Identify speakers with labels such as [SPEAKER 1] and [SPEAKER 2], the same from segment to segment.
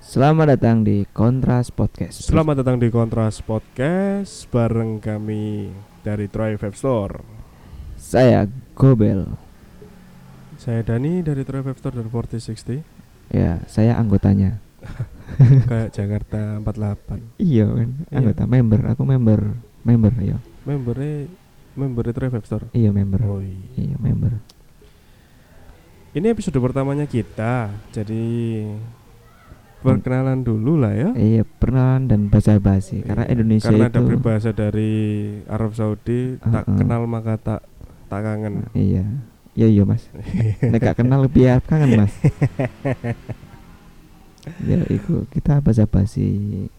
[SPEAKER 1] Selamat datang di Kontras Podcast.
[SPEAKER 2] Selamat datang di Kontras Podcast bareng kami dari Troy Vape Store.
[SPEAKER 1] Saya Gobel.
[SPEAKER 2] Saya Dani dari Troy Vape Store dan 4060
[SPEAKER 1] Ya, saya anggotanya.
[SPEAKER 2] kayak Jakarta 48.
[SPEAKER 1] Iya, kan?
[SPEAKER 2] Iya.
[SPEAKER 1] anggota member. Aku member, member ya.
[SPEAKER 2] Membernya membernya Troy Vape Store. Oh
[SPEAKER 1] Iya, member.
[SPEAKER 2] Oi.
[SPEAKER 1] Iya, member.
[SPEAKER 2] Ini episode pertamanya kita. Jadi perkenalan dulu lah ya.
[SPEAKER 1] Iya, perkenalan dan basa-basi. Karena
[SPEAKER 2] Iya,
[SPEAKER 1] Indonesia
[SPEAKER 2] karena ada
[SPEAKER 1] itu
[SPEAKER 2] berbahasa dari Arab Saudi tak
[SPEAKER 1] Uh-uh.
[SPEAKER 2] kenal maka tak tak kangen.
[SPEAKER 1] Iya. Iya, iya, Mas. Nek gak kenal lebih harap kangen, Mas. ya, itu kita basa-basi,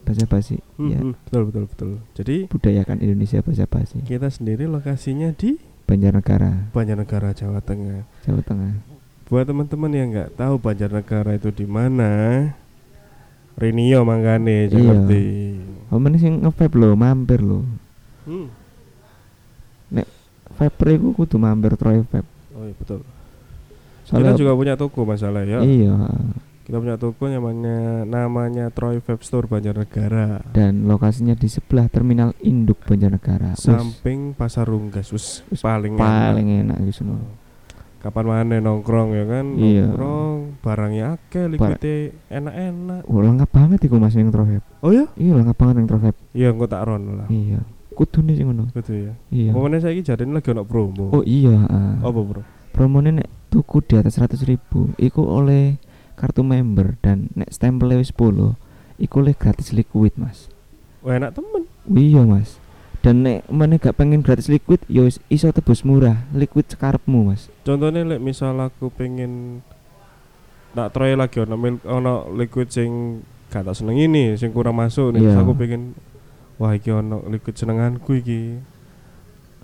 [SPEAKER 1] basa-basi.
[SPEAKER 2] Hmm,
[SPEAKER 1] Ya,
[SPEAKER 2] hmm, betul betul betul. Jadi
[SPEAKER 1] budayakan Indonesia basa-basi.
[SPEAKER 2] kita sendiri lokasinya di
[SPEAKER 1] Banjarnegara,
[SPEAKER 2] Banjarnegara Jawa Tengah.
[SPEAKER 1] Jawa Tengah.
[SPEAKER 2] Buat teman-teman yang nggak tahu Banjarnegara itu di mana, Rinio mangkane
[SPEAKER 1] Iya.
[SPEAKER 2] Jakarta.
[SPEAKER 1] Omen sing nge-vape lho, mampir lho.
[SPEAKER 2] Hmm.
[SPEAKER 1] Vape iku kudu mampir Troy Vape.
[SPEAKER 2] Oh iya betul.
[SPEAKER 1] Soalnya
[SPEAKER 2] Kita juga punya toko masalah ya.
[SPEAKER 1] iya
[SPEAKER 2] Kita punya toko namanya namanya Troy Vape Store Banjarnegara.
[SPEAKER 1] dan lokasinya di sebelah terminal induk Banjarnegara. Wes,
[SPEAKER 2] Samping Pasar Runggas Wes,
[SPEAKER 1] Wes,
[SPEAKER 2] paling enak.
[SPEAKER 1] paling enak wis ngono.
[SPEAKER 2] Kapan mana nongkrong ya kan?
[SPEAKER 1] Iya.
[SPEAKER 2] Nongkrong, barangnya akeh, liquidnya enak-enak.
[SPEAKER 1] Oh, lengkap banget iku Mas ning Troy Vape.
[SPEAKER 2] Oh ya?
[SPEAKER 1] Iya lengkap banget ning Troy Vape.
[SPEAKER 2] Iya, engko tak ron lah.
[SPEAKER 1] Iya. Kudune sing ngono.
[SPEAKER 2] Gitu ya.
[SPEAKER 1] Iya.
[SPEAKER 2] Momennya saya jadinya lagi ono promo.
[SPEAKER 1] Oh iya. ah.
[SPEAKER 2] apa bro?
[SPEAKER 1] Promone nek tuku di atas 100 ribu iku oleh kartu member dan nek stempel wis 10 iku oleh gratis liquid Mas.
[SPEAKER 2] Wah Oh, enak temen.
[SPEAKER 1] Iya mas. Dan nek mana gak pengen gratis liquid, yo wis iso tebus murah liquid sekarepmu mas.
[SPEAKER 2] Contohnya lek misal aku pengen tak troy lagi ono milk ono liquid sing gak tak seneng ini, sing kurang masuk nih.
[SPEAKER 1] Iya.
[SPEAKER 2] Terus aku pengen wah iki ono liquid senenganku iki.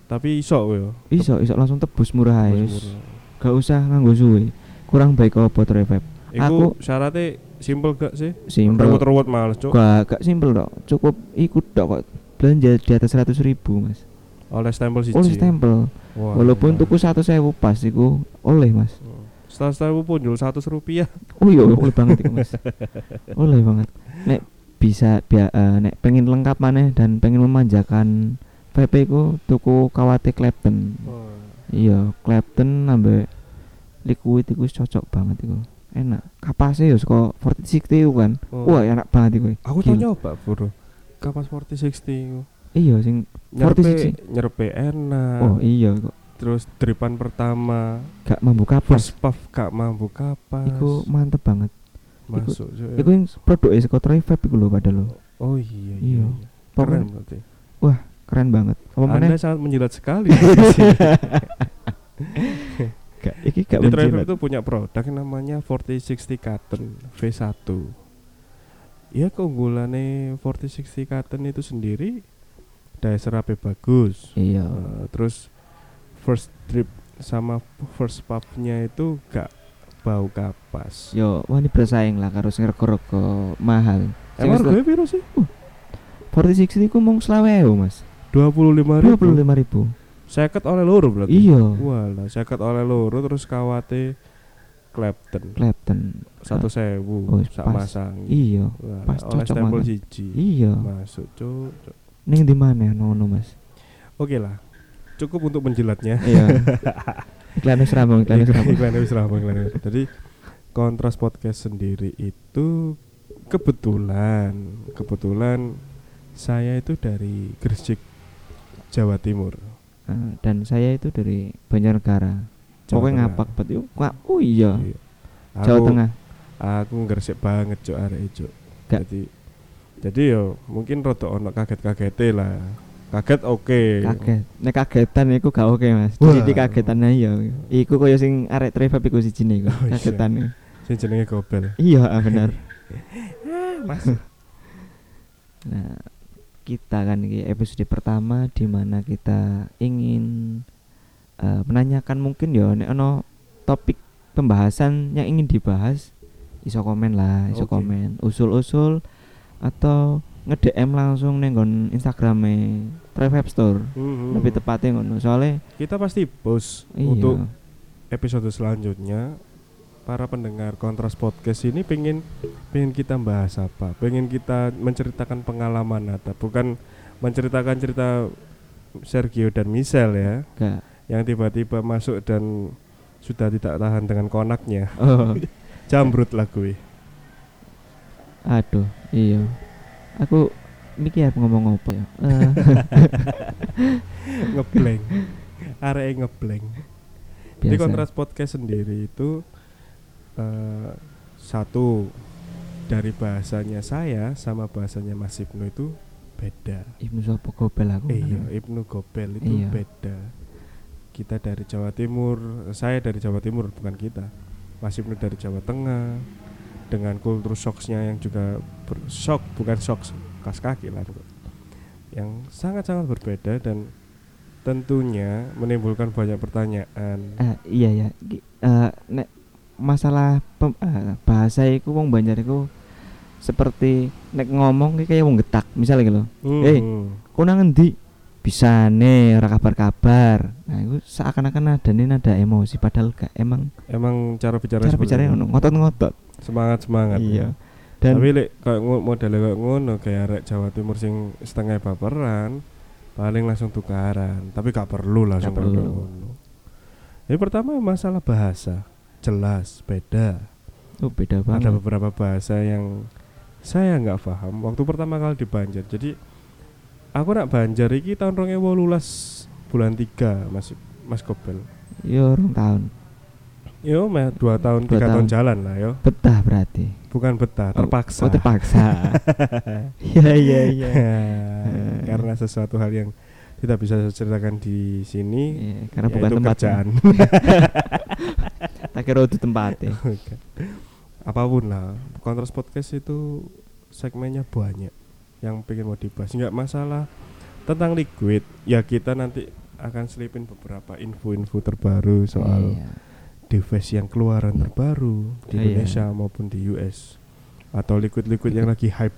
[SPEAKER 2] Tapi iso yo.
[SPEAKER 1] Iso iso langsung tebus murah ae.
[SPEAKER 2] Tebus murah.
[SPEAKER 1] Gak usah nganggo suwe. Kurang baik apa trevep.
[SPEAKER 2] Iku
[SPEAKER 1] Aku-
[SPEAKER 2] syaratnya simple gak sih?
[SPEAKER 1] Simpel.
[SPEAKER 2] Ruwet-ruwet males cuk.
[SPEAKER 1] Gak gak simpel dok. Cukup ikut dok kok. Belanja di atas 100 ribu mas.
[SPEAKER 2] Oleh stempel siji.
[SPEAKER 1] Oh, Oleh stempel.
[SPEAKER 2] Wah, iya.
[SPEAKER 1] Walaupun
[SPEAKER 2] enak.
[SPEAKER 1] tuku satu sewu pas iku oleh mas.
[SPEAKER 2] setelah stempel pun jual 100 rupiah.
[SPEAKER 1] Oh iya oleh banget iku mas. oleh banget. Nek bisa bia, eh, nek pengen lengkap maneh dan pengen memanjakan VP ku tuku kawate Clapton. Iya, Clapton ambek liquid iku wis cocok banget iku. Enak. Kapasnya ya saka 4060 iku kan.
[SPEAKER 2] Oh.
[SPEAKER 1] Wah, enak banget iku.
[SPEAKER 2] Aku tau
[SPEAKER 1] Gila.
[SPEAKER 2] nyoba bro. Kapas 4060 iku.
[SPEAKER 1] Iya, sing
[SPEAKER 2] nyerpe
[SPEAKER 1] 4060.
[SPEAKER 2] nyerpe enak
[SPEAKER 1] oh iya kok
[SPEAKER 2] terus dripan pertama
[SPEAKER 1] gak mampu kapas.
[SPEAKER 2] first puff gak mampu kapas
[SPEAKER 1] Iku mantep banget.
[SPEAKER 2] masuk Cuk, ya.
[SPEAKER 1] Iku yang produk saka Troy Vape iku lho padahal lho.
[SPEAKER 2] oh
[SPEAKER 1] Iya.
[SPEAKER 2] iya iya, iya. keren
[SPEAKER 1] Pokoknya-
[SPEAKER 2] berarti
[SPEAKER 1] Keren banget. Apa
[SPEAKER 2] anda
[SPEAKER 1] meneh?
[SPEAKER 2] sangat menjilat sekali
[SPEAKER 1] Iya,
[SPEAKER 2] di
[SPEAKER 1] Gak iki gak
[SPEAKER 2] Travel
[SPEAKER 1] menjilat.
[SPEAKER 2] itu punya produk yang namanya 4060 Cotton V1 ya keunggulannya 4060 Cotton itu sendiri daya serapnya bagus
[SPEAKER 1] Iya.
[SPEAKER 2] Eh, terus first drip sama first puffnya itu gak bau kapas
[SPEAKER 1] Yo, wah ini bersaing lah karo sing rego-rego mahal. Sing
[SPEAKER 2] Emang
[SPEAKER 1] wis-
[SPEAKER 2] harganya piro sih?
[SPEAKER 1] 4060 iku mung 20.000, Mas.
[SPEAKER 2] 25 ribu
[SPEAKER 1] 25.000.
[SPEAKER 2] Seket oleh loro berarti?
[SPEAKER 1] Iya.
[SPEAKER 2] Walah, seket oleh loro terus kawate Clapton
[SPEAKER 1] Clapton.
[SPEAKER 2] Satu
[SPEAKER 1] Oh,
[SPEAKER 2] sewu, sak
[SPEAKER 1] pas.
[SPEAKER 2] masang
[SPEAKER 1] Iya.
[SPEAKER 2] Walah,
[SPEAKER 1] pas
[SPEAKER 2] oleh
[SPEAKER 1] cocok
[SPEAKER 2] stempel
[SPEAKER 1] banget.
[SPEAKER 2] siji
[SPEAKER 1] Iya.
[SPEAKER 2] Masuk cuk cuk.
[SPEAKER 1] Ning di mana ngono, Mas?
[SPEAKER 2] Oke lah, cukup untuk menjilatnya
[SPEAKER 1] Iya. Iklan wis rambung, iklan wis rambung.
[SPEAKER 2] Iklannya wis rampung, iklannya wis- Jadi kontras podcast sendiri itu kebetulan Kebetulan saya itu dari Gresik, Jawa Timur
[SPEAKER 1] Eh, Dan saya itu dari Banjarnegara. Pokoknya
[SPEAKER 2] Tengah.
[SPEAKER 1] ngapak bet yuk. Wah, oh iya.
[SPEAKER 2] Iya.
[SPEAKER 1] Jawa
[SPEAKER 2] Aku-
[SPEAKER 1] Tengah.
[SPEAKER 2] aku ngresik banget cok arek e, cok
[SPEAKER 1] Gak.
[SPEAKER 2] jadi jadi yo mungkin rada ono kaget-kagete lah kaget oke
[SPEAKER 1] Kaget. Nek kagetan iku gak oke, Mas.
[SPEAKER 2] Wah.
[SPEAKER 1] Jadi kagetan ae ya. Iku koyo sing arek trevap iku sijine iku.
[SPEAKER 2] Oh, iya.
[SPEAKER 1] Kagetan.
[SPEAKER 2] sing jenenge gobel
[SPEAKER 1] Iya, ah, bener.
[SPEAKER 2] mas
[SPEAKER 1] Nah, kita kan ini episode pertama di mana kita ingin eh, menanyakan mungkin ya nek ono topik pembahasan yang ingin dibahas iso komen lah, iso
[SPEAKER 2] Oke.
[SPEAKER 1] komen, usul-usul atau nge-DM langsung ning nggon Instagrame Trevap Store.
[SPEAKER 2] Mhm.
[SPEAKER 1] Lebih tepatnya ngono. Soalnya
[SPEAKER 2] kita pasti post
[SPEAKER 1] iya.
[SPEAKER 2] untuk episode selanjutnya para pendengar kontras podcast ini pengen pengen kita bahas apa pengen kita menceritakan pengalaman atau bukan menceritakan cerita Sergio dan Michel ya
[SPEAKER 1] Gak.
[SPEAKER 2] yang tiba-tiba masuk dan sudah tidak tahan dengan konaknya
[SPEAKER 1] Oh,
[SPEAKER 2] jambrut lah gue
[SPEAKER 1] aduh, iya. Aku mikir aku ngomong apa ya. Eh,
[SPEAKER 2] ngeblank area ngeblank jadi
[SPEAKER 1] biasa.
[SPEAKER 2] kontras podcast sendiri itu eh, satu dari bahasanya saya sama bahasanya Mas Ibnu itu beda
[SPEAKER 1] Ibu sopo gobel aku.
[SPEAKER 2] Eh, Iya, Ibnu Gobel itu
[SPEAKER 1] Iya.
[SPEAKER 2] beda. Kita dari Jawa Timur, saya dari Jawa Timur bukan kita. Mas Ibnu dari Jawa Tengah dengan kultur shocksnya yang juga ber- shock bukan shocks kas kaki lah Bro. yang sangat-sangat berbeda dan tentunya menimbulkan banyak pertanyaan
[SPEAKER 1] Eh, iya ya. Ki- eh, nek masalah pem, eh, bahasa iku wong Banjar iku seperti nek ngomong ki kayak wong getak, misalnya gitu.
[SPEAKER 2] Hmm,
[SPEAKER 1] eh. Kau nang ngendi? Bisa nih, ora kabar-kabar. Nah, itu seakan-akan ada nih ada emosi padahal gak emang
[SPEAKER 2] emang cara bicara
[SPEAKER 1] cara bicaranya ngono, ngotot-ngotot.
[SPEAKER 2] semangat semangat
[SPEAKER 1] Iya. Dan
[SPEAKER 2] Tapi lek kayak ngono modele kayak ngono kayak arek Jawa Timur sing setengah baperan paling langsung tukaran, tapi gak perlu langsung
[SPEAKER 1] Gak perlu.
[SPEAKER 2] kayak ngono. Jadi pertama masalah bahasa, jelas beda.
[SPEAKER 1] oh, beda
[SPEAKER 2] Ada
[SPEAKER 1] banget.
[SPEAKER 2] beberapa bahasa yang saya nggak paham waktu pertama kali di Banjar. Jadi aku nak Banjar iki tahun 2018 bulan 3 Mas Mas Kobel.
[SPEAKER 1] Yo, Iya, rong tahun.
[SPEAKER 2] Yo, meh 2 tahun,
[SPEAKER 1] Dua
[SPEAKER 2] 3 tahun.
[SPEAKER 1] tahun.
[SPEAKER 2] jalan lah yo.
[SPEAKER 1] Betah berarti.
[SPEAKER 2] Bukan betah, terpaksa.
[SPEAKER 1] Oh, terpaksa. Iya, iya, iya.
[SPEAKER 2] karena sesuatu hal yang tidak bisa saya ceritakan di sini
[SPEAKER 1] Iya, Karena
[SPEAKER 2] yaitu
[SPEAKER 1] bukan tempatnya.
[SPEAKER 2] kerjaan
[SPEAKER 1] Tak kira ya. itu tempatnya.
[SPEAKER 2] Bukan. apapun lah kontras podcast itu segmennya banyak yang pengen mau dibahas nggak masalah tentang liquid ya kita nanti akan selipin beberapa info-info terbaru soal
[SPEAKER 1] Iya.
[SPEAKER 2] device yang keluaran terbaru di
[SPEAKER 1] Iya.
[SPEAKER 2] Indonesia maupun di US atau liquid-liquid yang lagi hype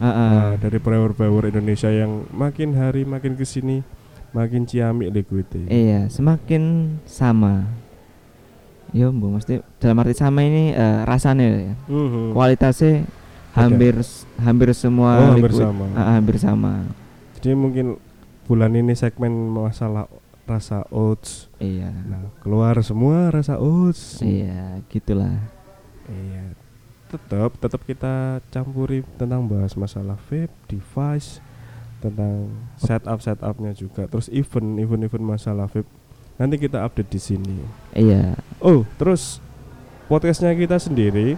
[SPEAKER 1] Heeh.
[SPEAKER 2] Nah, dari power-power Indonesia yang makin hari makin kesini makin ciamik liquidnya.
[SPEAKER 1] Iya, semakin sama. Yo, Bu, mesti dalam arti sama ini eh, rasanya ya.
[SPEAKER 2] Mhm.
[SPEAKER 1] Kualitasnya hampir s- hampir semua
[SPEAKER 2] Oh, hampir
[SPEAKER 1] liquid-
[SPEAKER 2] sama.
[SPEAKER 1] Ah, hampir sama.
[SPEAKER 2] Jadi mungkin bulan ini segmen masalah rasa oats.
[SPEAKER 1] Iya.
[SPEAKER 2] Nah, keluar semua rasa oats.
[SPEAKER 1] Iya, gitulah.
[SPEAKER 2] Iya. Tetap tetap kita campuri tentang bahas masalah vape, device, tentang setup setupnya juga. Terus event event event masalah vape. Nanti kita update di sini.
[SPEAKER 1] Iya.
[SPEAKER 2] Oh, terus podcastnya kita sendiri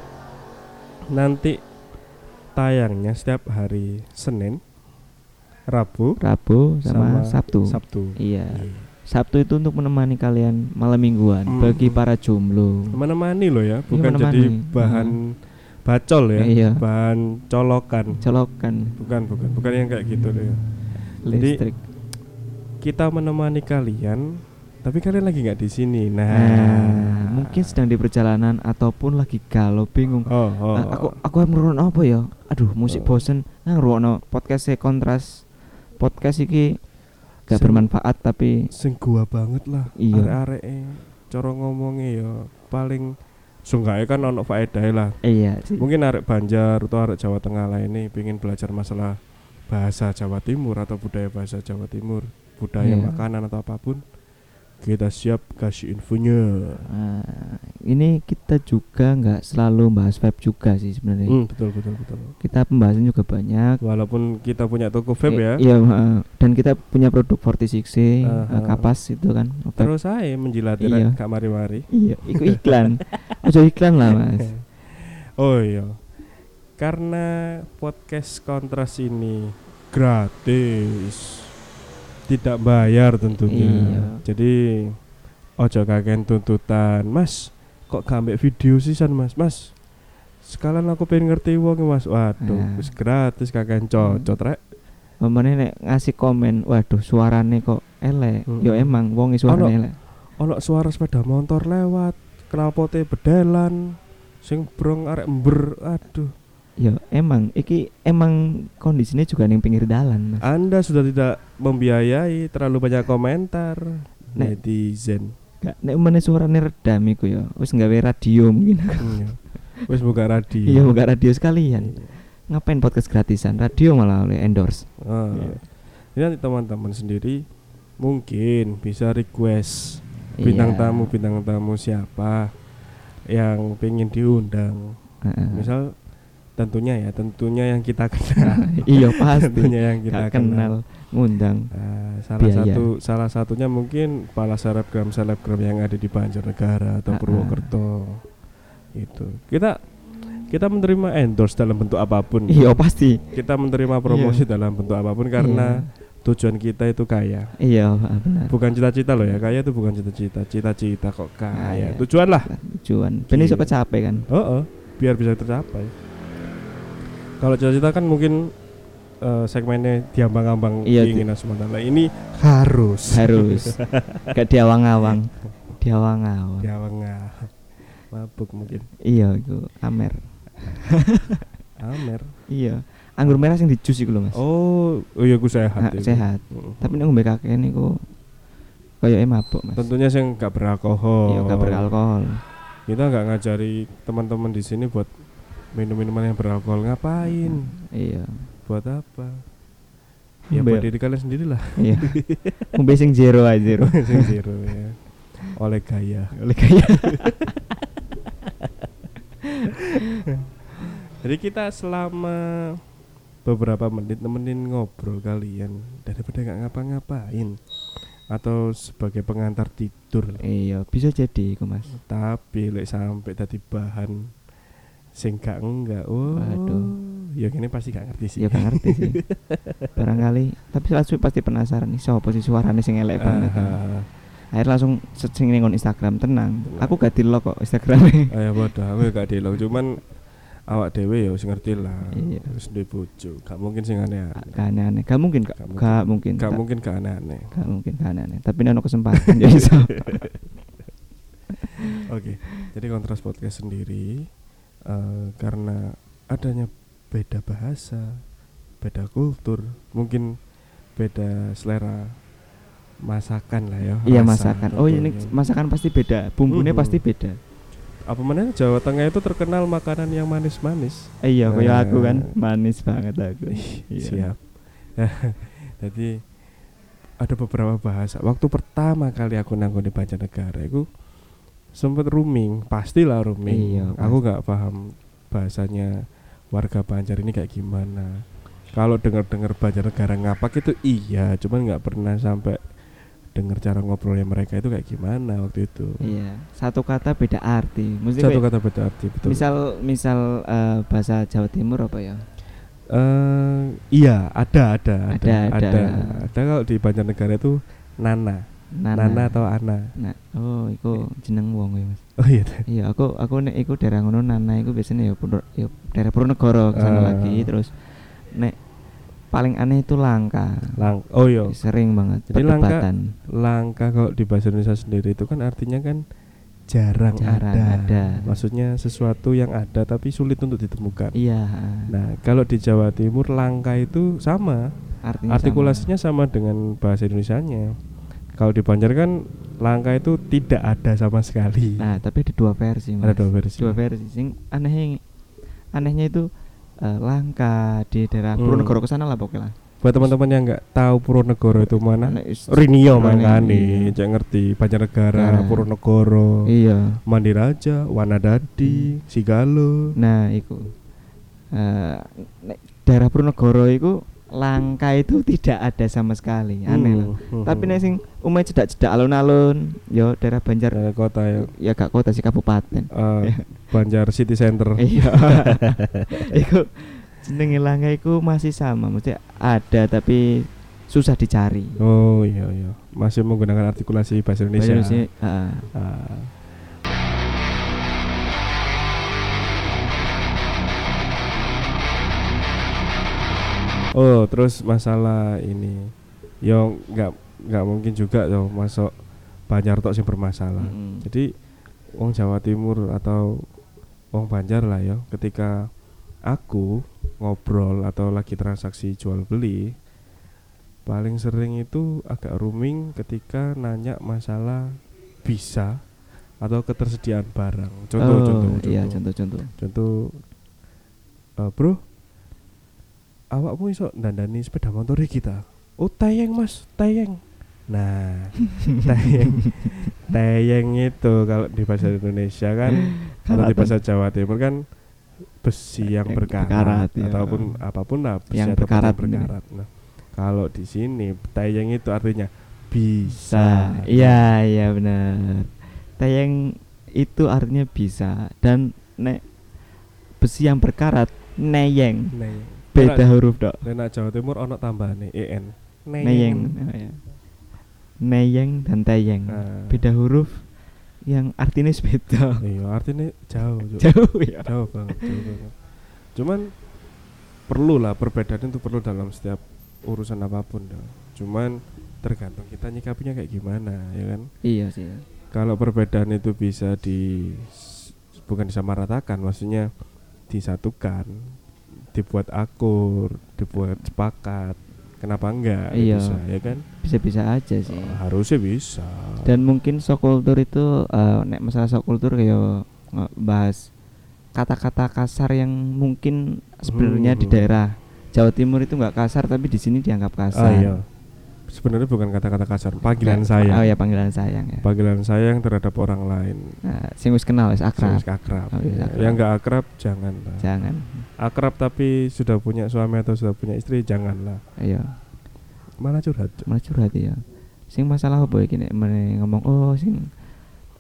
[SPEAKER 2] nanti tayangnya setiap hari Senin, Rabu,
[SPEAKER 1] Rabu sama, Sabtu.
[SPEAKER 2] Sabtu.
[SPEAKER 1] Iya. Sabtu itu untuk menemani kalian malam mingguan
[SPEAKER 2] Mm.
[SPEAKER 1] bagi para jomblo.
[SPEAKER 2] Menemani loh ya,
[SPEAKER 1] Iya,
[SPEAKER 2] bukan
[SPEAKER 1] menemani.
[SPEAKER 2] jadi bahan bacol ya,
[SPEAKER 1] Iya.
[SPEAKER 2] bahan colokan.
[SPEAKER 1] Colokan
[SPEAKER 2] Bukan, bukan, bukan yang kayak gitu loh ya.
[SPEAKER 1] Hmm.
[SPEAKER 2] Jadi-
[SPEAKER 1] listrik.
[SPEAKER 2] Kita menemani kalian, tapi kalian lagi nggak di sini. Nah,
[SPEAKER 1] Nah, mungkin sedang di perjalanan ataupun lagi galau bingung.
[SPEAKER 2] Oh, oh.
[SPEAKER 1] Ah, aku aku harus ngerungokno apa ya? Aduh, musik
[SPEAKER 2] Oh.
[SPEAKER 1] bosen. Nah, ngerungokno podcast kontras. Podcast iki gak
[SPEAKER 2] Sing-
[SPEAKER 1] bermanfaat tapi
[SPEAKER 2] sing gua banget lah
[SPEAKER 1] Iya.
[SPEAKER 2] arek-areke cara ngomongnya ya paling sunggae kan ono faedahe lah
[SPEAKER 1] iya sih.
[SPEAKER 2] mungkin arek Banjar atau arek Jawa Tengah lainnya pengen belajar masalah bahasa Jawa Timur atau budaya bahasa Jawa Timur
[SPEAKER 1] Iya.
[SPEAKER 2] budaya makanan atau apapun kita siap kasih infonya
[SPEAKER 1] Ah, ini kita juga nggak selalu bahas vape juga sih sebenarnya.
[SPEAKER 2] Hmm, betul betul betul
[SPEAKER 1] Kita pembahasan juga banyak.
[SPEAKER 2] walaupun kita punya toko
[SPEAKER 1] I-
[SPEAKER 2] vape ya
[SPEAKER 1] Iya, heeh. dan kita punya produk 46C,
[SPEAKER 2] Aha.
[SPEAKER 1] eh, kapas itu kan. vape.
[SPEAKER 2] terus saya menjilat
[SPEAKER 1] Iya.
[SPEAKER 2] kak mari-mari
[SPEAKER 1] Iya, itu iklan. Ojo iklan lah, Mas.
[SPEAKER 2] oh iya karena podcast kontras ini gratis tidak bayar tentunya
[SPEAKER 1] Iya.
[SPEAKER 2] jadi ojo kakean tuntutan mas kok gak ambek video sisan mas mas sekalian aku pengen ngerti wong mas waduh
[SPEAKER 1] Ah.
[SPEAKER 2] wis gratis kakean cocot rek
[SPEAKER 1] Mamane nek ngasih komen, waduh suarane kok elek.
[SPEAKER 2] Mm.
[SPEAKER 1] Yo emang wong
[SPEAKER 2] Ono.
[SPEAKER 1] suarane elek.
[SPEAKER 2] ono suara sepeda motor lewat knalpote bedelan sing brong arek ember aduh
[SPEAKER 1] Yo Ya emang iki emang kondisinya juga ning pinggir dalan. Mas.
[SPEAKER 2] Ah. Anda sudah tidak membiayai terlalu banyak komentar
[SPEAKER 1] Nek.
[SPEAKER 2] netizen.
[SPEAKER 1] Gak nek mene suarane redam iku ya. Wis gawe radio mungkin.
[SPEAKER 2] Iya. Wis buka radio.
[SPEAKER 1] Iya, buka radio sekalian.
[SPEAKER 2] Iya.
[SPEAKER 1] Ngapain podcast gratisan? Radio malah oleh endorse.
[SPEAKER 2] Ah.
[SPEAKER 1] Iya.
[SPEAKER 2] Ini nanti teman-teman sendiri mungkin bisa request bintang
[SPEAKER 1] Iya.
[SPEAKER 2] tamu bintang tamu siapa yang pengen diundang.
[SPEAKER 1] Heeh.
[SPEAKER 2] Misal tentunya ya, tentunya yang kita kenal.
[SPEAKER 1] Nah. iya pasti.
[SPEAKER 2] tentunya yang kita kan.
[SPEAKER 1] Gak
[SPEAKER 2] kenal.
[SPEAKER 1] kenal ngundang.
[SPEAKER 2] Nah, salah
[SPEAKER 1] Biaya.
[SPEAKER 2] satu salah satunya mungkin para selebgram selebgram yang ada di Banjarnegara
[SPEAKER 1] Ah,
[SPEAKER 2] atau
[SPEAKER 1] ah.
[SPEAKER 2] Purwokerto itu kita kita menerima endorse dalam bentuk apapun
[SPEAKER 1] Iya pasti.
[SPEAKER 2] kita menerima promosi dalam bentuk apapun karena tujuan kita itu kaya
[SPEAKER 1] iya, iya benar.
[SPEAKER 2] bukan cita-cita loh ya kaya itu bukan cita-cita cita-cita kok
[SPEAKER 1] Kaya.
[SPEAKER 2] kaya tujuan lah
[SPEAKER 1] tujuan. Ben iso
[SPEAKER 2] Iya.
[SPEAKER 1] kecape kan.
[SPEAKER 2] oh, biar bisa tercapai kalau cita-cita kan mungkin eh, segmennya diambang-ambang
[SPEAKER 1] Iya, di-
[SPEAKER 2] keinginan semata Nah, ini harus
[SPEAKER 1] Harus. Gak diawang-awang. Diawang-awang.
[SPEAKER 2] Jawa nggak mabuk mungkin
[SPEAKER 1] Iya iku Amer.
[SPEAKER 2] Amer
[SPEAKER 1] Iya. Anggur merah sing dijus iku lho Mas.
[SPEAKER 2] oh oh iya gue sehat
[SPEAKER 1] Ah,
[SPEAKER 2] itu.
[SPEAKER 1] sehat.
[SPEAKER 2] Mm.
[SPEAKER 1] Tapi nek ngombe kakek niku koyoke mabuk Mas.
[SPEAKER 2] tentunya sih nggak beralkohol
[SPEAKER 1] Iya, gak beralkohol.
[SPEAKER 2] kita nggak ngajari teman-teman di sini buat minum minuman yang beralkohol ngapain
[SPEAKER 1] Iya.
[SPEAKER 2] buat apa ya
[SPEAKER 1] Ngombe-
[SPEAKER 2] buat diri kalian sendiri lah
[SPEAKER 1] Iya. Ngombe sing zero aja zero.
[SPEAKER 2] Sing zero ya oleh gaya
[SPEAKER 1] Oleh kaya.
[SPEAKER 2] jadi kita selama beberapa menit nemenin ngobrol kalian daripada nggak ngapa-ngapain atau sebagai pengantar tidur lah.
[SPEAKER 1] Iya, bisa jadi iku Mas.
[SPEAKER 2] tapi lek sampai tadi bahan sing gak enggak oh
[SPEAKER 1] Waduh.
[SPEAKER 2] ya kini pasti gak ngerti sih
[SPEAKER 1] Ya gak ngerti sih. Barangkali, tapi langsung pasti penasaran nih sapa sih suarane sing elek banget.
[SPEAKER 2] Ah,
[SPEAKER 1] Akhirnya langsung searching ning on Instagram tenang. Aku gak di kok Instagram.
[SPEAKER 2] ayo bodoh aku gak delok cuman awak dewe ya wis ngerti lah
[SPEAKER 1] Iya.
[SPEAKER 2] wis duwe bojo gak mungkin sing aneh-aneh
[SPEAKER 1] Gak aneh-aneh. Gak mungkin kak.
[SPEAKER 2] Gak mungkin.
[SPEAKER 1] Gak mungkin.
[SPEAKER 2] gak
[SPEAKER 1] tak-
[SPEAKER 2] mungkin gak aneh-aneh
[SPEAKER 1] Gak mungkin gak aneh-aneh. Tapi ini ada kesempatan ya iso.
[SPEAKER 2] Oke, jadi kontras podcast sendiri eh, karena adanya beda bahasa, beda kultur, mungkin beda selera masakan lah ya.
[SPEAKER 1] Iya
[SPEAKER 2] rasa
[SPEAKER 1] masakan. Oh ini
[SPEAKER 2] tentunya.
[SPEAKER 1] masakan pasti beda. Bumbunya
[SPEAKER 2] Mhm.
[SPEAKER 1] pasti beda.
[SPEAKER 2] apa mana Jawa Tengah itu terkenal makanan yang manis-manis.
[SPEAKER 1] Eh, Iya, kayak aku kan
[SPEAKER 2] Nah.
[SPEAKER 1] manis banget aku. Iya.
[SPEAKER 2] Siap. jadi ada beberapa bahasa. Waktu pertama kali aku nanggung di Banjarnegara, aku sempat rooming, pastilah rooming.
[SPEAKER 1] Iya,
[SPEAKER 2] aku nggak paham bahasanya warga Banjar ini kayak gimana. Kalau dengar-dengar Banjarnegara ngapak itu iya, cuman nggak pernah sampai dengar cara ngobrolnya mereka itu kayak gimana waktu itu.
[SPEAKER 1] Iya. Satu kata beda arti. Mesti
[SPEAKER 2] Satu
[SPEAKER 1] kayak-
[SPEAKER 2] kata beda arti betul.
[SPEAKER 1] Misal misal eh, bahasa Jawa Timur apa ya?
[SPEAKER 2] eh iya, ada, ada, ada,
[SPEAKER 1] Ada, ada.
[SPEAKER 2] ada. Ada kalau di Banjarnegara itu Nana, Nana, atau Ana.
[SPEAKER 1] Nah, oh, iku jeneng wong ya, Mas.
[SPEAKER 2] Oh iya.
[SPEAKER 1] Iya, aku aku nek iku daerah ngono Nana iku biasanya ya, Purwo- ya daerah Purwonegoro kesana
[SPEAKER 2] Ah.
[SPEAKER 1] lagi terus nek paling aneh itu langka.
[SPEAKER 2] Lang oh iya.
[SPEAKER 1] Sering banget
[SPEAKER 2] Jadi langka-
[SPEAKER 1] perdebatan.
[SPEAKER 2] Langka kalau di bahasa Indonesia sendiri itu kan artinya kan jarang,
[SPEAKER 1] Jarang
[SPEAKER 2] ada.
[SPEAKER 1] ada.
[SPEAKER 2] Maksudnya sesuatu yang ada tapi sulit untuk ditemukan.
[SPEAKER 1] Iya.
[SPEAKER 2] Nah, kalau di Jawa Timur langka itu sama,
[SPEAKER 1] artinya
[SPEAKER 2] artikulasinya sama dengan bahasa Indonesianya. Kalau di Banjar kan langka itu tidak ada sama sekali.
[SPEAKER 1] sama. Nah, tapi ada dua versi, Mas.
[SPEAKER 2] Ada dua versi.
[SPEAKER 1] Dua versi. Sing aneh anehnya itu eh, langka di daerah
[SPEAKER 2] Hmm.
[SPEAKER 1] Purwonegoro kesana lah pokoknya lah.
[SPEAKER 2] Buat teman-teman yang nggak tahu Purwonegoro itu
[SPEAKER 1] Nek
[SPEAKER 2] mana,
[SPEAKER 1] Nah, is-
[SPEAKER 2] Rinio
[SPEAKER 1] Rinio,
[SPEAKER 2] makane,
[SPEAKER 1] iya.
[SPEAKER 2] cek ngerti Banjarnegara,
[SPEAKER 1] Nah.
[SPEAKER 2] Purwonegoro,
[SPEAKER 1] Iya.
[SPEAKER 2] Mandiraja, Wanadadi, Sigalo.
[SPEAKER 1] Nah, iku. Eh, nek daerah Purwonegoro iku langka itu tidak ada sama sekali.
[SPEAKER 2] Hmm,
[SPEAKER 1] Aneh lah. Tapi nek sing umumnya cedak-cedak alun-alun, yo daerah Banjar
[SPEAKER 2] dari kota ya.
[SPEAKER 1] ya gak kota sih kabupaten.
[SPEAKER 2] eh, Banjar City Center.
[SPEAKER 1] Iya. iku jenenge langka iku masih sama, mesti ada tapi susah dicari.
[SPEAKER 2] Oh iya iya. Masih menggunakan artikulasi bahasa Indonesia.
[SPEAKER 1] Padahal sih, ah,
[SPEAKER 2] Ah. Oh, terus masalah ini. Yo nggak nggak mungkin juga yo masuk Banjar tok sing bermasalah.
[SPEAKER 1] Mm-mm.
[SPEAKER 2] Jadi wong Jawa Timur atau wong Banjar lah yo ketika aku ngobrol atau lagi transaksi jual beli paling sering itu agak rooming ketika nanya masalah bisa atau ketersediaan barang. Contoh, contoh, contoh.
[SPEAKER 1] iya contoh-contoh.
[SPEAKER 2] Contoh, eh, bro, awakmu iso dandani sepeda motor kita. Oh tayeng mas, tayeng. Nah, tayeng, tayeng itu kalau di bahasa
[SPEAKER 1] Hmm.
[SPEAKER 2] Indonesia kan, kalau di
[SPEAKER 1] Karatan.
[SPEAKER 2] bahasa Jawa Timur kan besi
[SPEAKER 1] Yang
[SPEAKER 2] yang berkarat,
[SPEAKER 1] Eh, berkarat, ya.
[SPEAKER 2] ataupun apapun lah besi
[SPEAKER 1] Yang
[SPEAKER 2] ataupun
[SPEAKER 1] berkarat ini.
[SPEAKER 2] berkarat. Nah, kalau di sini tayeng itu artinya bisa.
[SPEAKER 1] bisa. Iya, iya benar. Tayang itu artinya bisa dan nek besi yang berkarat neyeng
[SPEAKER 2] Nah,
[SPEAKER 1] beda huruf dok
[SPEAKER 2] Lena Jawa Timur ono E tambahan en.
[SPEAKER 1] neyeng oh, ya. neyeng dan tayeng
[SPEAKER 2] Nah.
[SPEAKER 1] beda huruf yang artinya beda
[SPEAKER 2] Iya, artinya jauh, Cuk.
[SPEAKER 1] jauh ya
[SPEAKER 2] jauh banget, jauh banget. Cuman perlulah perbedaan itu perlu dalam setiap urusan apapun, dong. Cuman tergantung kita nyikapinya kayak gimana, ya kan?
[SPEAKER 1] iya sih
[SPEAKER 2] Kalau perbedaan itu bisa di s- bukan disamaratakan, maksudnya disatukan, dibuat akur, dibuat sepakat. Kenapa enggak?
[SPEAKER 1] Iya.
[SPEAKER 2] Bisa, ya kan?
[SPEAKER 1] bisa-bisa aja sih
[SPEAKER 2] Harusnya bisa.
[SPEAKER 1] dan mungkin sok kultur itu eh, nek masalah sok kultur kayak nge- bahas kata-kata kasar yang mungkin sebenarnya di
[SPEAKER 2] Hmm.
[SPEAKER 1] daerah Jawa Timur itu nggak kasar tapi di sini dianggap
[SPEAKER 2] Ah,
[SPEAKER 1] kasar.
[SPEAKER 2] iya. Sebenarnya bukan kata-kata kasar, panggilan saya.
[SPEAKER 1] Oh ya panggilan sayang ya.
[SPEAKER 2] Panggilan sayang terhadap orang lain.
[SPEAKER 1] Nah, sing wis kenal wis akrab.
[SPEAKER 2] Serius akrab.
[SPEAKER 1] Oh, iya,
[SPEAKER 2] Ya,
[SPEAKER 1] akrab.
[SPEAKER 2] Yang nggak akrab janganlah.
[SPEAKER 1] Jangan.
[SPEAKER 2] Akrab tapi sudah punya suami atau sudah punya istri janganlah.
[SPEAKER 1] Iya,
[SPEAKER 2] Malah curhat. Cuk.
[SPEAKER 1] malah curhat ya. Sing masalah apa iki nek meneh ngomong oh sing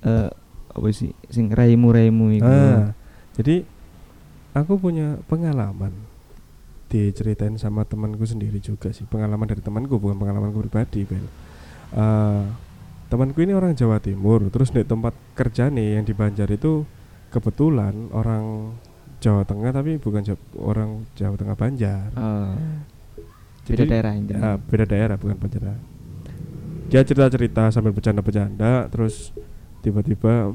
[SPEAKER 1] eh apa sih sing raimu-raimu iku.
[SPEAKER 2] Ah, jadi aku punya pengalaman diceritain sama temanku sendiri juga sih pengalaman dari temanku bukan pengalamanku pribadi Bel. Eh, temanku ini orang Jawa Timur terus di tempat kerja nih yang di Banjar itu kebetulan orang Jawa Tengah tapi bukan Jawa- orang Jawa Tengah Banjar
[SPEAKER 1] Oh, beda
[SPEAKER 2] Jadi-
[SPEAKER 1] daerah ini.
[SPEAKER 2] Ah, beda daerah bukan penjara dia cerita cerita sambil bercanda bercanda terus tiba-tiba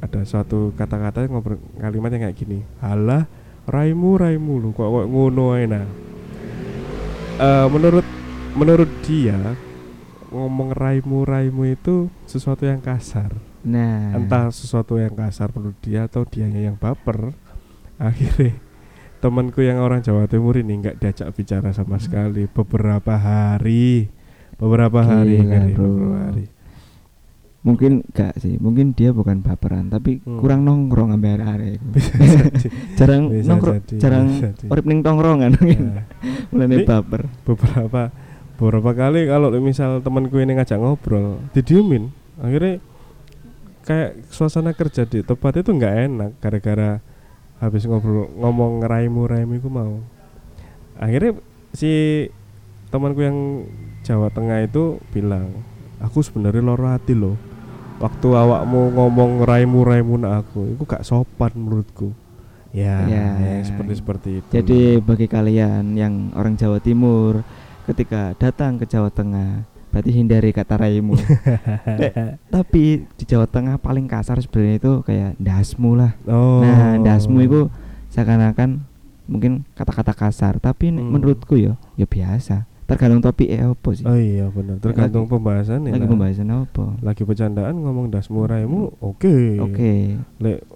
[SPEAKER 2] ada suatu kata-kata yang ngobrol kalimat yang kayak gini halah raimu raimu lu kok kok ngono ae nah." Eh, menurut menurut dia ngomong raimu raimu itu sesuatu yang kasar
[SPEAKER 1] Nah,
[SPEAKER 2] entah sesuatu yang kasar menurut dia atau dianya yang baper akhirnya temanku yang orang Jawa Timur ini nggak diajak bicara sama
[SPEAKER 1] Hmm.
[SPEAKER 2] sekali beberapa hari beberapa hari
[SPEAKER 1] Gila,
[SPEAKER 2] kali,
[SPEAKER 1] bro.
[SPEAKER 2] beberapa hari
[SPEAKER 1] mungkin gak sih mungkin dia bukan baperan tapi
[SPEAKER 2] Hmm.
[SPEAKER 1] kurang nongkrong ambil arek
[SPEAKER 2] bisa jadi
[SPEAKER 1] jarang
[SPEAKER 2] bisa
[SPEAKER 1] nongkrong
[SPEAKER 2] jadi,
[SPEAKER 1] jarang
[SPEAKER 2] bisa jadi.
[SPEAKER 1] urip ning tongkrongan
[SPEAKER 2] Nah,
[SPEAKER 1] mulai
[SPEAKER 2] Ini- Hmm.
[SPEAKER 1] baper
[SPEAKER 2] beberapa beberapa kali kalau misal temanku ini ngajak ngobrol didiemin akhirnya kayak suasana kerja di tempat itu nggak enak gara-gara habis ngobrol ngomong raimu raimu ku mau akhirnya si temanku yang Jawa Tengah itu bilang aku sebenarnya loro hati loh waktu awakmu ngomong raimu raimu nak aku itu gak sopan menurutku ya,
[SPEAKER 1] Ya.
[SPEAKER 2] yang seperti seperti itu
[SPEAKER 1] jadi bagi kalian yang orang Jawa Timur ketika datang ke Jawa Tengah berarti hindari kata raimu Nek, tapi di Jawa Tengah paling kasar sebenarnya itu kayak dasmu lah
[SPEAKER 2] oh.
[SPEAKER 1] nah dasmu itu seakan-akan mungkin kata-kata kasar tapi nek
[SPEAKER 2] Hmm.
[SPEAKER 1] menurutku ya ya biasa tergantung topik eh apa sih
[SPEAKER 2] Oh iya benar, tergantung pembahasan ya,
[SPEAKER 1] lagi pembahasan apa
[SPEAKER 2] Lagi bercandaan ngomong dasmu raimu, oke.
[SPEAKER 1] Oke,
[SPEAKER 2] Lek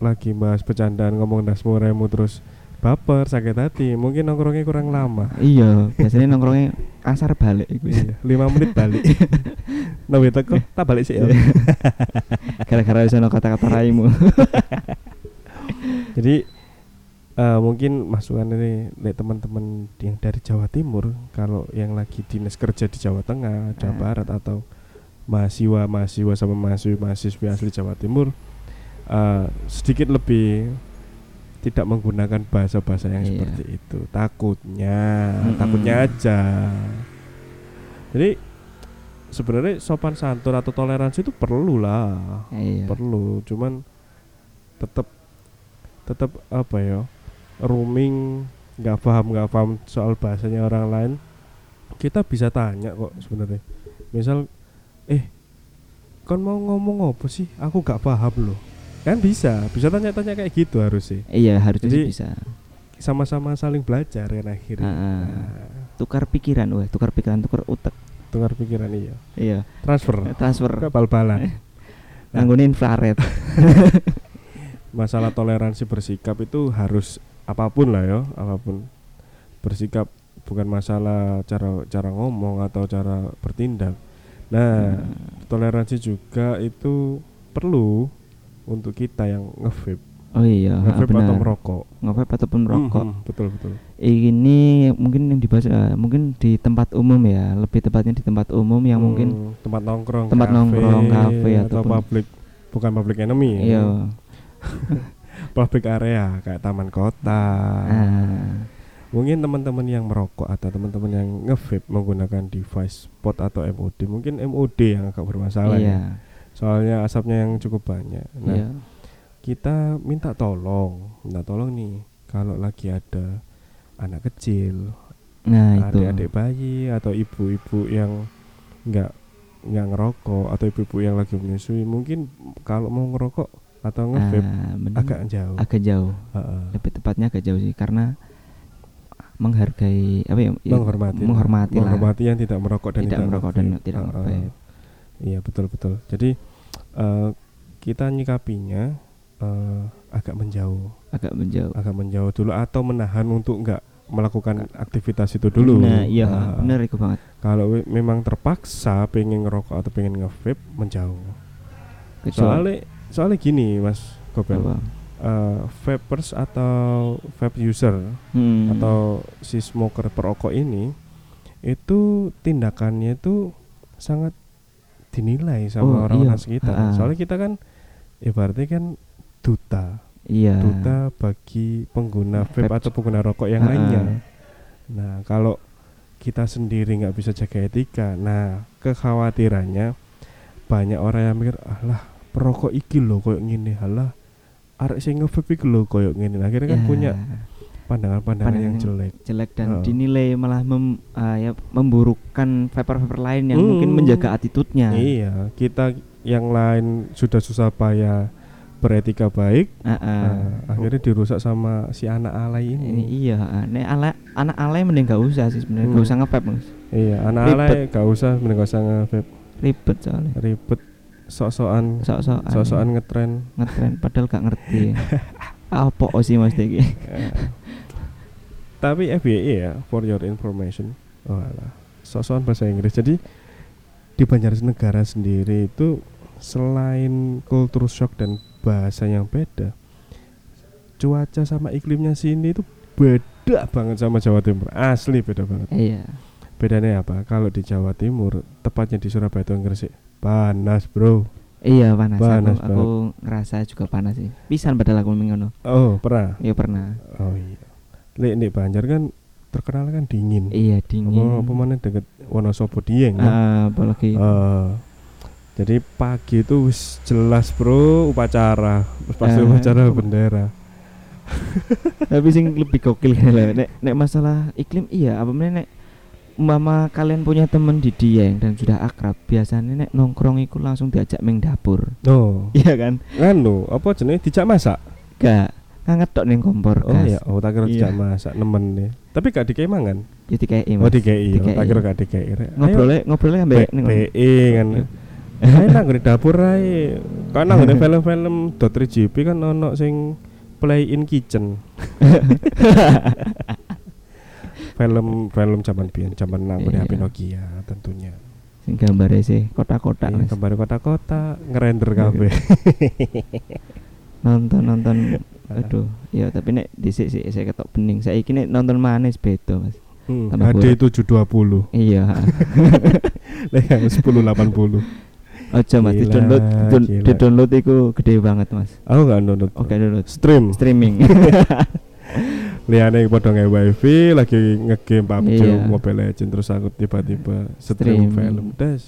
[SPEAKER 2] lagi bahas bercandaan ngomong dasmu raimu terus baper, sakit hati, mungkin nongkrongnya kurang lama.
[SPEAKER 1] iya biasanya nongkrongnya kasar balik iku.
[SPEAKER 2] Iya, 5 menit balik. Nawi teko, tak balik sih. ya.
[SPEAKER 1] Iya. Gara-gara wis ana kata-kata raimu.
[SPEAKER 2] Jadi eh, mungkin masukan ini lek teman-teman yang dari Jawa Timur kalau yang lagi dinas kerja di Jawa Tengah, Jawa
[SPEAKER 1] Ah.
[SPEAKER 2] Barat atau mahasiswa mahasiswa sama mahasiswa mahasiswi asli Jawa Timur eh, sedikit lebih tidak menggunakan bahasa-bahasa yang
[SPEAKER 1] Iya.
[SPEAKER 2] seperti itu takutnya
[SPEAKER 1] Mm-mm.
[SPEAKER 2] takutnya aja jadi sebenarnya sopan santun atau toleransi itu perlu lah
[SPEAKER 1] Iya.
[SPEAKER 2] perlu cuman tetap tetap apa ya rooming nggak paham nggak paham soal bahasanya orang lain kita bisa tanya kok sebenarnya misal eh kon mau ngomong apa sih aku nggak paham loh kan bisa bisa tanya-tanya kayak gitu harus sih
[SPEAKER 1] Iya, harusnya sih
[SPEAKER 2] Jadi-
[SPEAKER 1] bisa.
[SPEAKER 2] sama-sama saling belajar kan akhirnya
[SPEAKER 1] Ah, ah.
[SPEAKER 2] Nah,
[SPEAKER 1] Tukar pikiran, wah, tukar pikiran, tukar utak.
[SPEAKER 2] tukar pikiran iya
[SPEAKER 1] Iya.
[SPEAKER 2] transfer
[SPEAKER 1] Transfer.
[SPEAKER 2] kapal balan
[SPEAKER 1] Nganggone infrared.
[SPEAKER 2] masalah toleransi bersikap itu harus apapun lah ya apapun bersikap bukan masalah cara cara ngomong atau cara bertindak nah
[SPEAKER 1] Hmm.
[SPEAKER 2] toleransi juga itu perlu untuk kita yang nge
[SPEAKER 1] Oh iya, ha,
[SPEAKER 2] nge atau
[SPEAKER 1] benar.
[SPEAKER 2] merokok
[SPEAKER 1] Ngevap ataupun merokok.
[SPEAKER 2] Mhm, betul betul
[SPEAKER 1] Ini mungkin yang dibahas eh, mungkin di tempat umum ya, lebih tepatnya di tempat umum yang mungkin
[SPEAKER 2] Hmm, tempat nongkrong
[SPEAKER 1] tempat
[SPEAKER 2] kafe,
[SPEAKER 1] nongkrong, kafe,
[SPEAKER 2] atau
[SPEAKER 1] ataupun-
[SPEAKER 2] public bukan public enemy ya.
[SPEAKER 1] iya.
[SPEAKER 2] public area kayak taman kota
[SPEAKER 1] Ah,
[SPEAKER 2] mungkin teman-teman yang merokok atau teman-teman yang nge menggunakan device pot atau MOD mungkin MOD yang agak bermasalah
[SPEAKER 1] iya.
[SPEAKER 2] ya soalnya asapnya yang cukup banyak nah
[SPEAKER 1] Iya.
[SPEAKER 2] kita minta tolong minta tolong nih kalau lagi ada anak kecil
[SPEAKER 1] Nah, itu.
[SPEAKER 2] adik-adik bayi atau ibu-ibu yang nggak nggak ngerokok atau ibu-ibu yang lagi menyusui mungkin kalau mau ngerokok atau nge
[SPEAKER 1] Ah, benar.
[SPEAKER 2] agak jauh
[SPEAKER 1] agak jauh.
[SPEAKER 2] Heeh.
[SPEAKER 1] lebih tepatnya agak jauh sih karena menghargai apa ya ya,
[SPEAKER 2] menghormati
[SPEAKER 1] menghormati lah
[SPEAKER 2] menghormati yang tidak merokok dan
[SPEAKER 1] Tidak
[SPEAKER 2] tidak,
[SPEAKER 1] merokok dan
[SPEAKER 2] nge-vape.
[SPEAKER 1] tidak
[SPEAKER 2] Heeh.
[SPEAKER 1] nge-vape.
[SPEAKER 2] iya betul betul jadi eh, kita nyikapinya eh, agak menjauh
[SPEAKER 1] agak menjauh
[SPEAKER 2] agak menjauh dulu atau menahan untuk nggak melakukan aktivitas itu dulu
[SPEAKER 1] nah iya
[SPEAKER 2] Nah,
[SPEAKER 1] bener itu banget
[SPEAKER 2] kalau we- memang terpaksa pengen ngerokok atau pengen nge-vape menjauh
[SPEAKER 1] kecuali
[SPEAKER 2] soalnya soalnya gini mas Gobel
[SPEAKER 1] apa?
[SPEAKER 2] Eh, vapers atau vape user
[SPEAKER 1] Hmm,
[SPEAKER 2] atau si smoker perokok ini itu tindakannya itu sangat dinilai
[SPEAKER 1] Oh,
[SPEAKER 2] sama orang-orang
[SPEAKER 1] iya.
[SPEAKER 2] sekitar.
[SPEAKER 1] Ha-ha.
[SPEAKER 2] Soalnya kita kan ibaratnya kan duta,
[SPEAKER 1] iya
[SPEAKER 2] duta bagi pengguna vape
[SPEAKER 1] Vape.
[SPEAKER 2] atau pengguna rokok yang
[SPEAKER 1] Ha-ha.
[SPEAKER 2] lainnya. Nah, kalau kita sendiri nggak bisa jaga etika, nah kekhawatirannya banyak orang yang mikir, alah perokok iki loh koyok ngene, alah arek sing nge-vape iki lho koyok ngene. Nah, Akhirnya kan
[SPEAKER 1] Ya,
[SPEAKER 2] punya Ah. pandangan-pandangan yang
[SPEAKER 1] Pandangan-
[SPEAKER 2] jelek.
[SPEAKER 1] jelek dan
[SPEAKER 2] Heeh.
[SPEAKER 1] dinilai malah mem, ah, ya, memburukkan vapor-vapor lain yang mungkin
[SPEAKER 2] Hmm.
[SPEAKER 1] menjaga attitude-nya
[SPEAKER 2] Iya, kita yang lain sudah susah payah beretika baik,
[SPEAKER 1] Ah, ah.
[SPEAKER 2] nah, akhirnya dirusak sama si anak alay ini.
[SPEAKER 1] ini iya ah. Nek ala- anak alay mending gak usah sih sebenarnya gak
[SPEAKER 2] Hmm.
[SPEAKER 1] usah ngevap mas
[SPEAKER 2] Iya, anak
[SPEAKER 1] Ribet.
[SPEAKER 2] alay gak usah mending gak usah nge-vape.
[SPEAKER 1] ribet soalnya
[SPEAKER 2] ribet sok-sokan
[SPEAKER 1] sok-sokan
[SPEAKER 2] sok-sokan ngetren.
[SPEAKER 1] ngetren padahal gak ngerti apa sih mas Diki
[SPEAKER 2] Eh, Tapi FYI ya, for your information. Oh, alah. Sok-sokan bahasa Inggris. Jadi di Banjarnegara sendiri itu selain culture shock dan bahasa yang beda, cuaca sama iklimnya sini itu beda banget sama Jawa Timur. Asli beda banget.
[SPEAKER 1] iya
[SPEAKER 2] Bedanya apa? Kalau di Jawa Timur, tepatnya di Surabaya atau Gresik, panas, Bro.
[SPEAKER 1] Iya panas,
[SPEAKER 2] Panas
[SPEAKER 1] aku, aku ngerasa juga panas sih. Pisan padahal aku mengono.
[SPEAKER 2] Oh, pernah.
[SPEAKER 1] Ya pernah.
[SPEAKER 2] Oh iya. Lek nek Banjar kan terkenal kan dingin.
[SPEAKER 1] Iya dingin.
[SPEAKER 2] Apa, apa mana deket Wonosobo Dieng kan?
[SPEAKER 1] Ah, apalagi
[SPEAKER 2] Eh, jadi pagi itu wis jelas bro upacara Terus pasti
[SPEAKER 1] Eh,
[SPEAKER 2] upacara
[SPEAKER 1] apa?
[SPEAKER 2] bendera
[SPEAKER 1] tapi sing lebih gokil kan lah. Nek, nek masalah iklim iya apa mana nek mama kalian punya temen di Dieng dan sudah akrab biasanya nek nongkrong iku langsung diajak meng dapur
[SPEAKER 2] no
[SPEAKER 1] iya kan
[SPEAKER 2] nganu Anu, apa jenis dijak masak
[SPEAKER 1] gak nganget tok neng kompor
[SPEAKER 2] oh
[SPEAKER 1] gas
[SPEAKER 2] ya oh tak kira dijak
[SPEAKER 1] Iya.
[SPEAKER 2] masak nemen nih tapi gak dikei mangan
[SPEAKER 1] ya DKI,
[SPEAKER 2] oh
[SPEAKER 1] Mas.
[SPEAKER 2] dikei oh,
[SPEAKER 1] DKI.
[SPEAKER 2] tak kira gak dikei
[SPEAKER 1] ngobrolnya ngobrolnya kan mbak neng
[SPEAKER 2] be kan
[SPEAKER 1] Iya.
[SPEAKER 2] ayo nang di dapur ae kan nang nggone film-film dot 3GP kan ono sing play in kitchen film film zaman biyen zaman nang nggone
[SPEAKER 1] Iya.
[SPEAKER 2] HP Nokia tentunya
[SPEAKER 1] sing gambarnya sih kotak-kotak Mas.
[SPEAKER 2] Iya, gambar kota-kota ngerender
[SPEAKER 1] Iya.
[SPEAKER 2] kabeh
[SPEAKER 1] nonton nonton aduh ya tapi nek dhisik sih saya ketok bening saya nek nonton manis beda mas
[SPEAKER 2] Hmm,
[SPEAKER 1] Tambah
[SPEAKER 2] HD 720
[SPEAKER 1] iya
[SPEAKER 2] Lah yang 1080
[SPEAKER 1] ojo mas di
[SPEAKER 2] Gila,
[SPEAKER 1] download
[SPEAKER 2] gila. Oh.
[SPEAKER 1] di download itu gede banget mas
[SPEAKER 2] Aku gak download
[SPEAKER 1] oke download
[SPEAKER 2] Stream
[SPEAKER 1] streaming
[SPEAKER 2] Liane podo nge wifi Lagi ngegame PUBG
[SPEAKER 1] Iya.
[SPEAKER 2] Mobile Legends Terus aku tiba-tiba Stream
[SPEAKER 1] Streaming.
[SPEAKER 2] film Des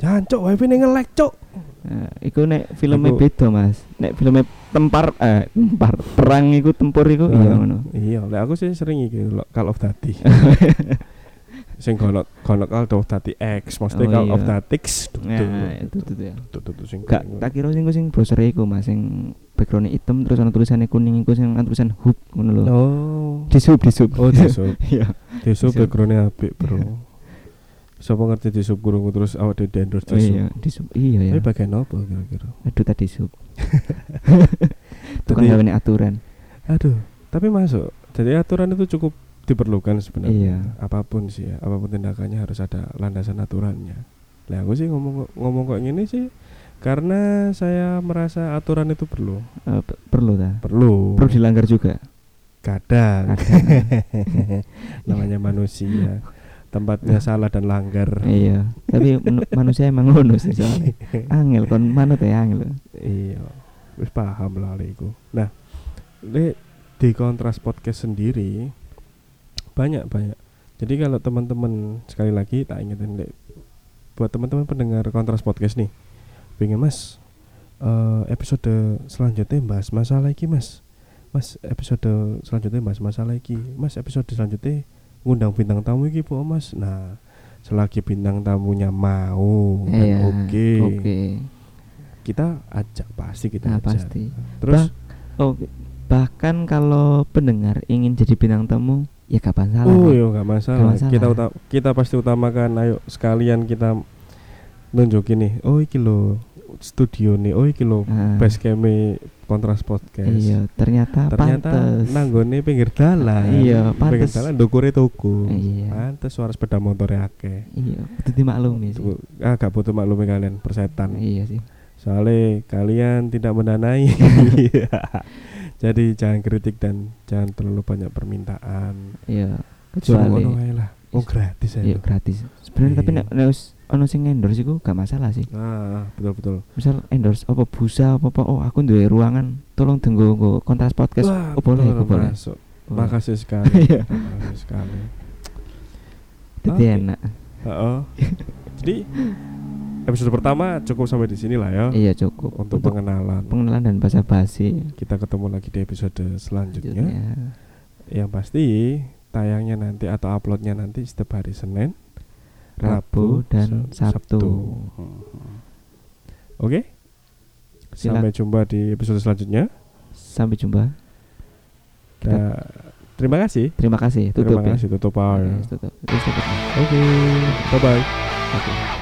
[SPEAKER 2] Jangan cok wifi ini nge-lag cok
[SPEAKER 1] nah, iku nek filmnya
[SPEAKER 2] Aku-
[SPEAKER 1] beda mas nek filmnya tempar eh tempar perang iku tempur iku iya
[SPEAKER 2] Ah,
[SPEAKER 1] ngono Nah,
[SPEAKER 2] Iya lah aku sih sering gitu loh Call of Duty Sing kono kono Call of Duty X
[SPEAKER 1] Oh,
[SPEAKER 2] Maksudnya Call
[SPEAKER 1] iya.
[SPEAKER 2] of Duty X Duh, duh,
[SPEAKER 1] nah itu
[SPEAKER 2] duh,
[SPEAKER 1] itu tuh ya
[SPEAKER 2] duh, duh, duh, sing
[SPEAKER 1] gak
[SPEAKER 2] kono.
[SPEAKER 1] tak kira sing iku sing browser iku mas sing backgroundnya hitam terus ana tulisannya kuning iku sing ana tulisan hub ngono lho
[SPEAKER 2] Oh
[SPEAKER 1] di sub di sub
[SPEAKER 2] Oh Deso
[SPEAKER 1] iya
[SPEAKER 2] Deso
[SPEAKER 1] Deso. Iya.
[SPEAKER 2] backgroundnya apik bro Sopo ngerti di sub kurung terus awak di endorse
[SPEAKER 1] Oh,
[SPEAKER 2] di sub.
[SPEAKER 1] iya, di sub. Iya ya.
[SPEAKER 2] Ini bagian apa kira-kira?
[SPEAKER 1] Aduh tadi sub. Tukang
[SPEAKER 2] Tadi-
[SPEAKER 1] gawe aturan.
[SPEAKER 2] Aduh, tapi masuk. Jadi aturan itu cukup diperlukan sebenarnya.
[SPEAKER 1] Iya.
[SPEAKER 2] Apapun sih, ya, apapun tindakannya harus ada landasan aturannya. Lah aku sih ngomong ngomong kok gini sih karena saya merasa aturan itu perlu.
[SPEAKER 1] Eh, pe- perlu ta?
[SPEAKER 2] Perlu.
[SPEAKER 1] Perlu dilanggar juga.
[SPEAKER 2] Kadang
[SPEAKER 1] Kadang.
[SPEAKER 2] namanya manusia. Tempatnya salah dan langgar.
[SPEAKER 1] iya. Tapi menu- manusia emang ngono sih soalnya. Angel kon manut ya angel.
[SPEAKER 2] Iya. Wis paham lah lek iku. Nah, lek di kontras podcast sendiri banyak-banyak. Jadi kalau teman-teman sekali lagi tak ingetin lek buat teman-teman pendengar kontras podcast nih. Pengen Mas eh, episode selanjutnya bahas masalah iki Mas. Mas episode selanjutnya bahas masalah iki. Mas episode selanjutnya ngundang bintang tamu iki po Mas. Nah, selagi bintang tamunya mau dan
[SPEAKER 1] Iya.
[SPEAKER 2] oke
[SPEAKER 1] Oke.
[SPEAKER 2] kita ajak pasti kita
[SPEAKER 1] Nah,
[SPEAKER 2] ajak.
[SPEAKER 1] pasti.
[SPEAKER 2] Terus
[SPEAKER 1] Oke. Bahkan kalau pendengar ingin jadi bintang tamu, ya kapan salah.
[SPEAKER 2] oh
[SPEAKER 1] Nek?
[SPEAKER 2] yo nggak masalah.
[SPEAKER 1] Nggak masalah.
[SPEAKER 2] Kita uta- kita pasti utamakan ayo sekalian kita nunjukin nih. Oh iki lo studio nih. Oh iki lo
[SPEAKER 1] Ah,
[SPEAKER 2] basecamp-e kontras podcast.
[SPEAKER 1] Iya, ternyata,
[SPEAKER 2] Ternyata
[SPEAKER 1] pantes.
[SPEAKER 2] nanggone pinggir dalan.
[SPEAKER 1] Iya,
[SPEAKER 2] Pinggir
[SPEAKER 1] pantes.
[SPEAKER 2] dalan ndukure toko.
[SPEAKER 1] Iya.
[SPEAKER 2] Pantes suara sepeda motor akeh.
[SPEAKER 1] Iya, itu dimaklumi sih.
[SPEAKER 2] Tuh, kan. Agak butuh maklumi kalian persetan.
[SPEAKER 1] Iya sih.
[SPEAKER 2] Soalnya kalian tidak mendanai. Jadi jangan kritik dan jangan terlalu banyak permintaan.
[SPEAKER 1] Iya.
[SPEAKER 2] Kecuali
[SPEAKER 1] Kecuali
[SPEAKER 2] lah. Oh gratis ya.
[SPEAKER 1] iya
[SPEAKER 2] itu.
[SPEAKER 1] gratis. Sebenarnya tapi
[SPEAKER 2] Iya.
[SPEAKER 1] nek nek wis ono sing endorse iku gak masalah sih.
[SPEAKER 2] Nah, betul betul.
[SPEAKER 1] Misal endorse apa busa apa apa oh aku duwe ruangan tolong tunggu nggo kontras podcast.
[SPEAKER 2] Wah,
[SPEAKER 1] oh, boleh, oh,
[SPEAKER 2] betul,
[SPEAKER 1] boleh.
[SPEAKER 2] masuk.
[SPEAKER 1] Oh,
[SPEAKER 2] Makasih sekali.
[SPEAKER 1] Iya.
[SPEAKER 2] Makasih sekali.
[SPEAKER 1] Dadi
[SPEAKER 2] Oke.
[SPEAKER 1] enak.
[SPEAKER 2] Heeh. Jadi episode pertama cukup sampai di sini lah ya.
[SPEAKER 1] Iya cukup
[SPEAKER 2] Untuk pengenalan.
[SPEAKER 1] pengenalan dan bahasa basi.
[SPEAKER 2] Kita ketemu lagi di episode selanjutnya.
[SPEAKER 1] Selanjutnya.
[SPEAKER 2] Yang pasti tayangnya nanti atau uploadnya nanti setiap hari Senin,
[SPEAKER 1] Rabu dan
[SPEAKER 2] Sa-
[SPEAKER 1] Sabtu.
[SPEAKER 2] Hmm. Oke.
[SPEAKER 1] Sila-
[SPEAKER 2] Sampai jumpa di episode selanjutnya.
[SPEAKER 1] Sampai jumpa. Kita-
[SPEAKER 2] Nah, terima kasih.
[SPEAKER 1] Terima kasih. Tutup
[SPEAKER 2] terima
[SPEAKER 1] ya.
[SPEAKER 2] kasih tutup power.
[SPEAKER 1] Yes, tutup. Yes, tutup.
[SPEAKER 2] Oke, bye bye.
[SPEAKER 1] Oke.